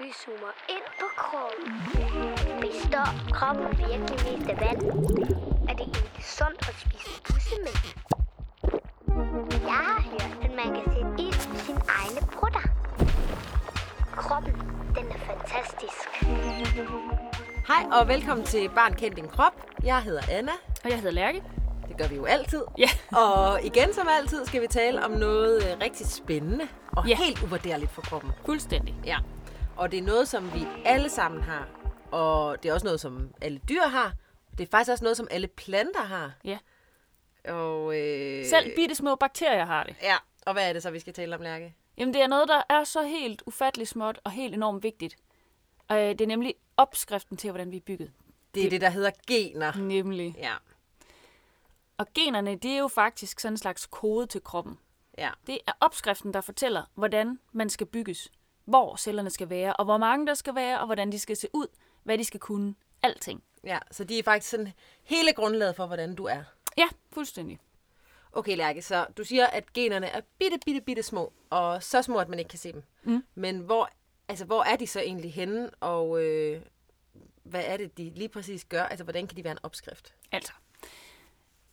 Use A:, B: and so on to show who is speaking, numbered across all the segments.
A: Vi zoomer ind på kroppen. Består kroppen virkelig mest af vand? Er det egentlig sundt at spise bussemænd? Jeg har hørt, at man kan sætte ild i sin egne brutter. Kroppen, den er fantastisk.
B: Hej og velkommen til Barn kendt din krop. Jeg hedder Anna.
C: Og jeg hedder Lærke.
B: Det gør vi jo altid.
C: Ja.
B: Og igen som altid skal vi tale om noget øh, rigtig spændende og
C: Ja.
B: helt uvurderligt for kroppen.
C: Fuldstændig.
B: Ja. Og det er noget, som vi alle sammen har. Og det er også noget, som alle dyr har. Det er faktisk også noget, som alle planter har.
C: Ja.
B: Og, øh,
C: Selv bitte små bakterier har det.
B: Ja, og hvad er det så, vi skal tale om, Lærke?
C: Jamen, det er noget, der er så helt ufatteligt småt og helt enormt vigtigt. Øh, det er nemlig opskriften til, hvordan vi er bygget.
B: Det er det, der hedder gener.
C: Nemlig.
B: Ja,
C: Og generne, det er jo faktisk sådan en slags kode til kroppen.
B: ja.
C: Det er opskriften, der fortæller, hvordan man skal bygges, hvor cellerne skal være, og hvor mange der skal være, og hvordan de skal se ud, hvad de skal kunne, alting.
B: Ja, så de er faktisk sådan hele grundlaget for, hvordan du er.
C: Ja, fuldstændig.
B: Okay, Lærke, så du siger, at generne er bitte, bitte, bitte små, og så små, at man ikke kan se dem. Mm. Men hvor, altså, hvor er de så egentlig henne, og øh, hvad er det, de lige præcis gør? Altså, hvordan kan de være en opskrift?
C: Altså,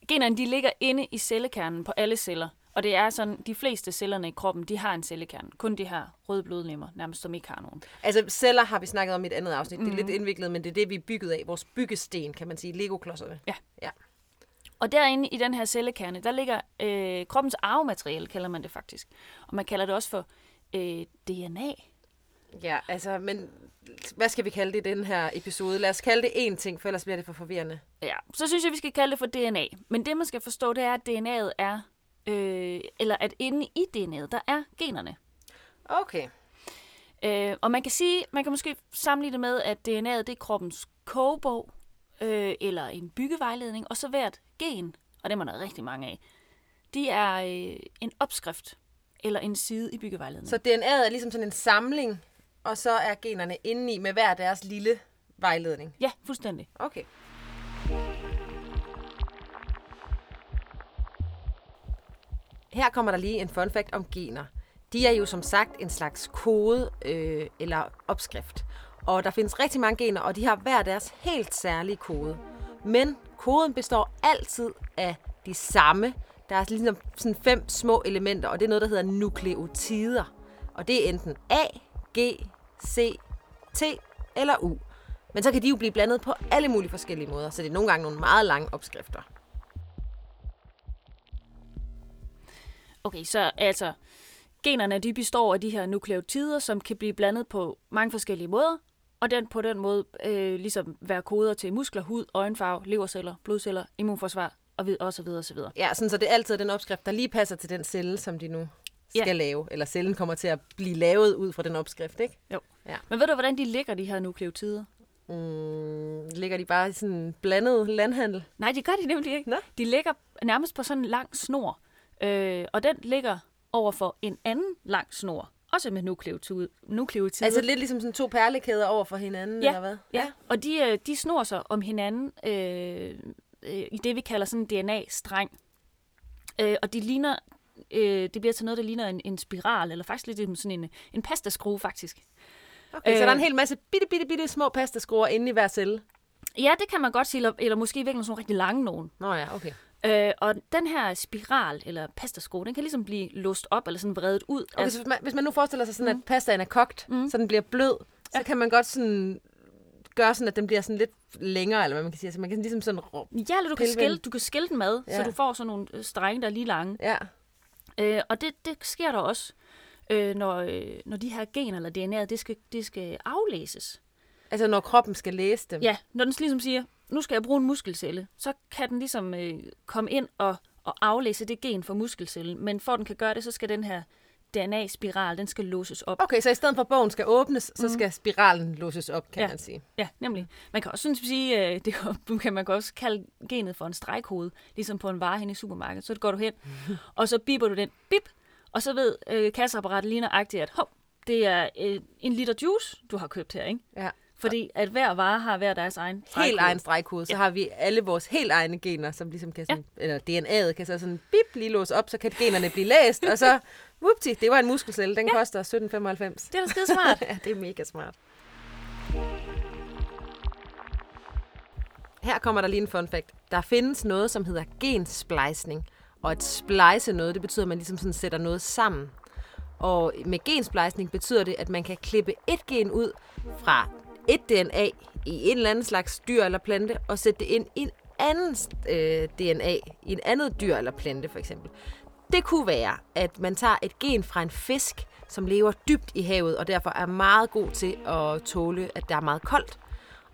C: generne de ligger inde i cellekernen på alle celler, og det er sådan, de fleste cellerne i kroppen, de har en cellekerne. Kun de her røde blodlemmer, nærmest som ikke har nogen.
B: Altså, celler har vi snakket om i et andet afsnit. Mm. Det er lidt indviklet, men det er det, vi er bygget af. Vores byggesten, kan man sige. Legoklodserne.
C: Ja.
B: ja.
C: Og derinde i den her cellekerne, der ligger øh, kroppens arvemateriale, kalder man det faktisk. Og man kalder det også for øh, DNA.
B: Ja, altså, men hvad skal vi kalde det i den her episode? Lad os kalde det én ting, for ellers bliver det for forvirrende.
C: Ja, så synes jeg, vi skal kalde det for DNA. Men det, man skal forstå, det er, at DNA'et er, øh, eller at inde i DNA'et, der er generne.
B: Okay.
C: Øh, og man kan sige, man kan måske sammenligne det med, at DNA'et det er kroppens kogebog, øh, eller en byggevejledning, og så hvert gen, og dem er der rigtig mange af, de er øh, en opskrift, eller en side i byggevejledningen.
B: Så DNA'et er ligesom sådan en samling, og så er generne indeni med hver deres lille vejledning.
C: Ja, fuldstændig.
B: Okay. Her kommer der lige en fun fact om gener. De er jo som sagt en slags kode øh, eller opskrift. Og der findes rigtig mange gener, og de har hver deres helt særlige kode. Men koden består altid af de samme. Der er ligesom sådan fem små elementer, og det er noget, der hedder nukleotider. Og det er enten A, G, C, T eller U. Men så kan de jo blive blandet på alle mulige forskellige måder, så det er nogle gange nogle meget lange opskrifter.
C: Okay, så altså, generne de består af de her nukleotider, som kan blive blandet på mange forskellige måder, og den på den måde øh, ligesom være koder til muskler, hud, øjenfarve, leverceller, blodceller, immunforsvar og vid- og så videre og så videre.
B: Ja, sådan, så det er altid den opskrift, der lige passer til den celle, som de nu skal
C: Ja.
B: lave. Eller cellen kommer til at blive lavet ud fra den opskrift, ikke?
C: Jo.
B: Ja.
C: Men ved du, hvordan de ligger, de her nukleotider?
B: Mm, ligger de bare i sådan en blandet landhandel?
C: Nej, det gør de nemlig ikke.
B: Nå.
C: De ligger nærmest på sådan en lang snor, øh, og den ligger over for en anden lang snor, også med nukleotider. nukleotider.
B: Altså lidt ligesom sådan to perlekæder over for hinanden,
C: Ja,
B: eller hvad?
C: Ja, og de, øh, de snor sig om hinanden øh, øh, i det, vi kalder sådan en DNA-streng. Øh, og de ligner, øh, det bliver til noget, der ligner en, en spiral, eller faktisk lidt som sådan en, en pastaskrue, faktisk.
B: Okay, øh... så der er en
C: Øh.
B: hel masse bitte, bitte, bitte små pastaskruer inde i hver celle.
C: Ja, det kan man godt sige, eller, eller måske i virkeligheden sådan nogle rigtig lange nogen.
B: Nå ja, okay.
C: Øh, og den her spiral, eller pastaskrue, den kan ligesom blive låst op, eller sådan vredet ud. Altså,
B: okay så hvis, man, hvis man nu forestiller sig sådan, at pastaen er kogt, Altså- mm. så den bliver blød, så kan man godt sådan gøre sådan, at den bliver sådan lidt længere, eller hvad man kan sige. Altså man kan ligesom sådan... rå-
C: Ja, eller du kan,
B: Pille ved
C: skille,
B: den.
C: du kan skille den ad, ja.
B: Ja.
C: så du får sådan nogle øh, strenge, der er lige lange.
B: Ja.
C: Øh, og det, det sker der også, øh, når, øh, når de her gener eller DNA'et, det skal, det skal aflæses.
B: Altså når kroppen skal læse dem.
C: Ja, når den ligesom siger, nu skal jeg bruge en muskelcelle, så kan den ligesom øh, komme ind og, og aflæse det gen for muskelcellen. Men for at den kan gøre det, så skal den her DNA-spiral, den skal låses op.
B: Okay, så i stedet for at bogen skal åbnes, så skal spiralen låses op, kan ja.
C: Ja.
B: man sige.
C: Ja, nemlig. Man kan også synes, sige, øh, det kan- kan man kan også kalde genet for en stregkode, ligesom på en vare hen i supermarkedet. Så går du hen, og så biber du den bip, og så ved øh, kasseapparatet lige nøjagtigt, at hov, det er øh, en liter juice, du har købt her, ikke?
B: Ja.
C: Fordi at hver vare har hver deres egen
B: Helt
C: stregkode.
B: egen stregkode. Så har vi alle vores helt egne gener, som ligesom kan sådan, ja. eller DNA'et kan så sådan bip lige låse op, så kan generne blive læst, og så, whoopty, det var en muskelcelle, den ja. koster 1795.
C: Det er da skide smart.
B: ja, det er mega smart. Her kommer der lige en fun fact. Der findes noget, som hedder gensplejsning. Og at splice noget, det betyder, at man ligesom sådan sætter noget sammen. Og med gensplejsning betyder det, at man kan klippe et gen ud fra et DNA i en eller anden slags dyr eller plante, og sætte det ind i en anden øh, DNA, i en andet dyr eller plante for eksempel. Det kunne være, at man tager et gen fra en fisk, som lever dybt i havet, og derfor er meget god til at tåle, at der er meget koldt.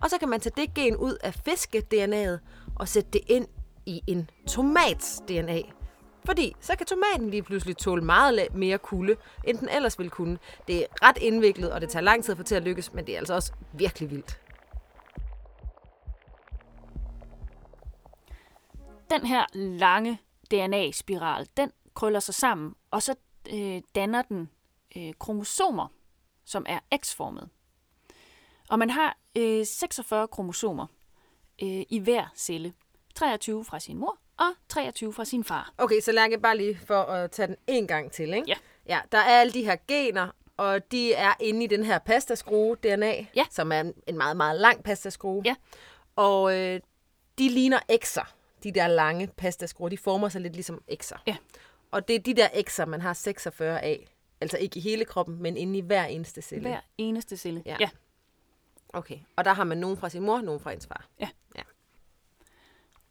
B: Og så kan man tage det gen ud af fiske-DNA'et og sætte det ind i en tomats DNA. Fordi så kan tomaten lige pludselig tåle meget la- mere kulde, end den ellers ville kunne. Det er ret indviklet, og det tager lang tid for til at lykkes, men det er altså også virkelig vildt.
C: Den her lange DNA-spiral, den krøller sig sammen, og så øh, danner den øh, kromosomer, som er X-formet. Og man har øh, 46 kromosomer øh, i hver celle. 23 fra sin mor og 23 fra sin far.
B: Okay, så Lærke, bare lige for at tage den en gang til, ikke?
C: Ja.
B: ja der er alle de her gener, og de er inde i den her pastaskrue DNA,
C: Ja.
B: som er en- en meget, meget lang pastaskrue.
C: Ja.
B: Og øh, de ligner X'er, de der lange pastaskruer. De former sig lidt ligesom X'er.
C: Ja.
B: Og det er de der X'er, man har 46 af. Altså ikke i hele kroppen, men inde i hver eneste celle.
C: Hver eneste celle.
B: Ja.
C: ja.
B: Okay, og der har man nogen fra sin mor, nogen fra ens far.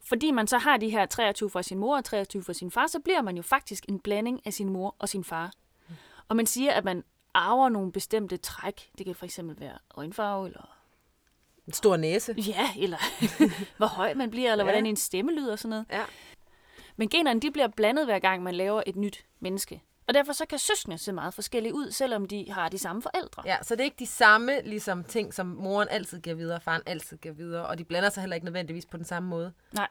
C: Fordi man så har de her 23 fra sin mor og 23 fra sin far, så bliver man jo faktisk en blanding af sin mor og sin far. Og man siger, at man arver nogle bestemte træk. Det kan for eksempel være øjenfarve, eller
B: En stor næse.
C: ja, eller hvor høj man bliver, eller
B: Ja.
C: ja. hvordan en stemme lyder og sådan noget.
B: Ja.
C: Men generne de bliver blandet hver gang, man laver et nyt menneske. Og derfor så kan søskende se meget forskellige ud, selvom de har de samme forældre.
B: ja, så det er ikke de samme ligesom, ting, som moren altid giver videre, og faren altid giver videre, og de blander sig heller ikke nødvendigvis på den samme måde.
C: Nej.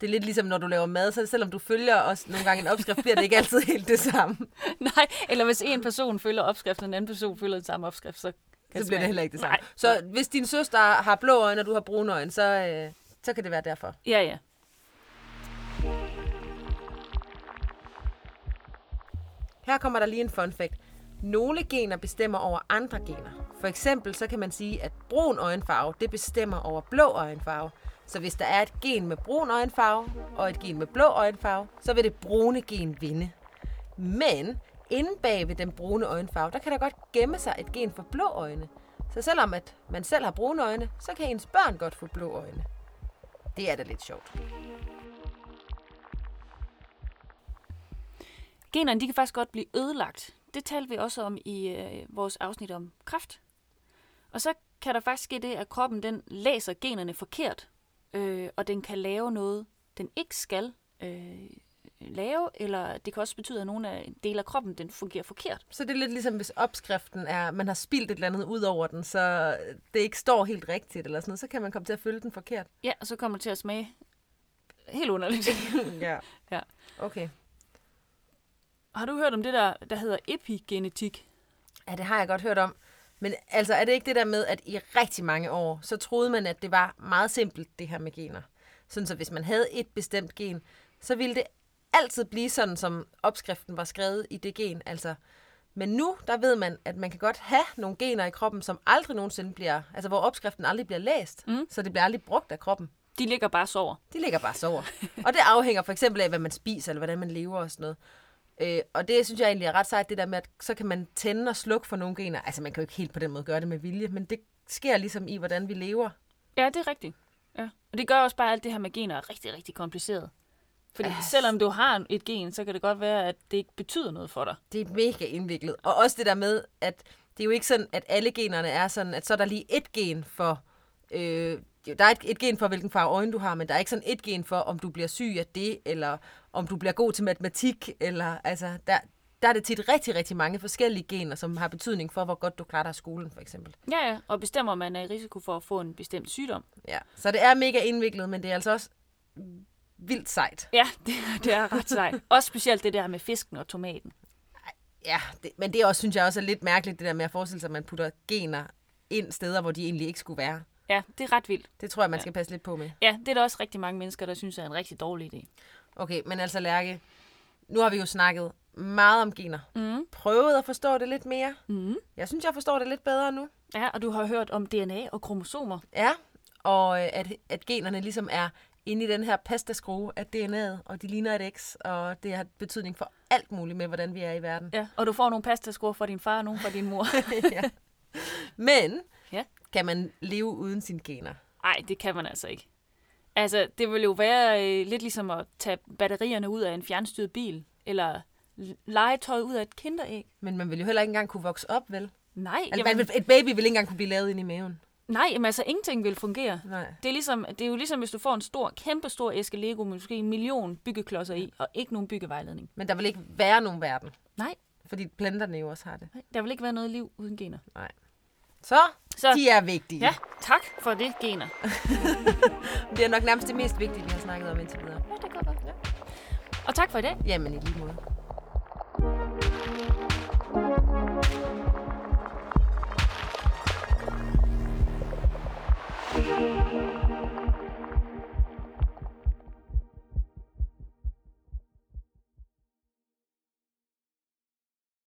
B: Det er lidt ligesom, når du laver mad, så selvom du følger os nogle gange en opskrift, bliver det ikke altid helt det samme.
C: Nej, eller hvis en person følger opskriften, og en anden person følger den samme opskrift, så, kan
B: Så bliver det
C: smagen-
B: heller ikke det samme.
C: Nej.
B: Så hvis din søster har blå øjne, og du har brune øjne, så, øh, så kan det være derfor.
C: Ja, ja.
B: Her kommer der lige en fun fact. Nogle gener bestemmer over andre gener. For eksempel så kan man sige, at brun øjenfarve, det bestemmer over blå øjenfarve. Så hvis der er et gen med brun øjenfarve og et gen med blå øjenfarve, så vil det brune gen vinde. Men inde bag ved den brune øjenfarve, der kan der godt gemme sig et gen for blå øjne. Så selvom at man selv har brune øjne, så kan ens børn godt få blå øjne. Det er da lidt sjovt.
C: Generne, de kan faktisk godt blive ødelagt. Det talte vi også om i øh, vores afsnit om kræft. Og så kan der faktisk ske det, at kroppen den læser generne forkert, øh, og den kan lave noget, den ikke skal øh, lave, eller det kan også betyde, at nogle af dele af kroppen den fungerer forkert.
B: Så det er lidt ligesom, hvis opskriften er, man har spildt et eller andet ud over den, så det ikke står helt rigtigt eller sådan noget, så kan man komme til at følge den forkert.
C: Ja, og så kommer det til at smage helt underligt.
B: ja.
C: ja.
B: Okay.
C: Har du hørt om det der, der hedder epigenetik?
B: Ja, det har jeg godt hørt om. Men altså, er det ikke det der med, at i rigtig mange år, så troede man, at det var meget simpelt, det her med gener. Sådan så hvis man havde et bestemt gen, så ville det altid blive sådan, som opskriften var skrevet i det gen. Altså, men nu, der ved man, at man kan godt have nogle gener i kroppen, som aldrig nogensinde bliver, altså hvor opskriften aldrig bliver læst, mm. så det bliver aldrig brugt af kroppen.
C: De ligger bare og sover.
B: De ligger bare og sover. Og det afhænger for eksempel af, hvad man spiser, eller hvordan man lever og sådan noget. Øh, og det synes jeg egentlig er ret sejt, det der med, at så kan man tænde og slukke for nogle gener. Altså, man kan jo ikke helt på den måde gøre det med vilje, men det sker ligesom i, hvordan vi lever.
C: Ja, det er rigtigt. Ja. Og det gør også bare, at alt det her med gener er rigtig, rigtig kompliceret. Fordi ja. selvom du har et gen, så kan det godt være, at det ikke betyder noget for dig.
B: Det er mega indviklet. Og også det der med, at det er jo ikke sådan, at alle generne er sådan, at så er der lige et gen for... Øh, jo, der er et, et gen for, hvilken farve øjne du har, men der er ikke sådan et gen for, om du bliver syg af det, eller om du bliver god til matematik, eller altså, der, der er det tit rigtig, rigtig mange forskellige gener, som har betydning for, hvor godt du klarer dig i skolen, for eksempel.
C: Ja, ja. Og bestemmer, at man er i risiko for at få en bestemt sygdom.
B: Ja. Så det er mega indviklet, men det er altså også vildt sejt.
C: Ja, det, det er ret sejt. Også specielt det der med fisken og tomaten.
B: Ja, det, men det er også, synes jeg også er lidt mærkeligt, det der med at forestille sig, at man putter gener ind steder, hvor de egentlig ikke skulle være.
C: Ja, det er ret vildt.
B: Det tror jeg, man skal passe lidt på med.
C: Ja, det er der også rigtig mange mennesker, der synes er en rigtig dårlig idé.
B: Okay, men altså Lærke, nu har vi jo snakket meget om gener. Mm. Prøvet at forstå det lidt mere. Mm. Jeg synes, jeg forstår det lidt bedre nu.
C: Ja, og du har hørt om DNA og kromosomer.
B: Ja, og øh, at, at generne ligesom er inde i den her pastaskrue af DNA'et, og de ligner et X, og det har betydning for alt muligt med, hvordan vi er i verden.
C: Ja, og du får nogle pastaskruer fra din far og nogle fra din mor.
B: ja. Men
C: ja.
B: kan man leve uden sine gener?
C: Nej, det kan man altså ikke. Altså, det vil jo være øh, lidt ligesom at tage batterierne ud af en fjernstyret bil, eller l- legetøj ud af et kinderæg.
B: Men man vil jo heller ikke engang kunne vokse op, vel?
C: Nej,
B: Altså, man vil, et baby vil ikke engang kunne blive lavet ind i maven.
C: nej jamen, altså ingenting vil fungere.
B: Nej.
C: Det er, ligesom, det er jo ligesom, hvis du får en stor, kæmpe stor æske Lego, med måske en million byggeklodser i, og ikke nogen byggevejledning.
B: Men der vil ikke være nogen verden,
C: Nej,
B: fordi planterne jo også har det.
C: nej, der vil ikke være noget liv uden gener.
B: Nej. Så,
C: Så-
B: Så. de er vigtige.
C: Ja, tak for det, gener.
B: Det er nok nærmest det mest vigtige, vi har snakket om indtil videre.
C: Ja, det kan godt. Ja. Og tak for i dag.
B: Jamen i lige måde.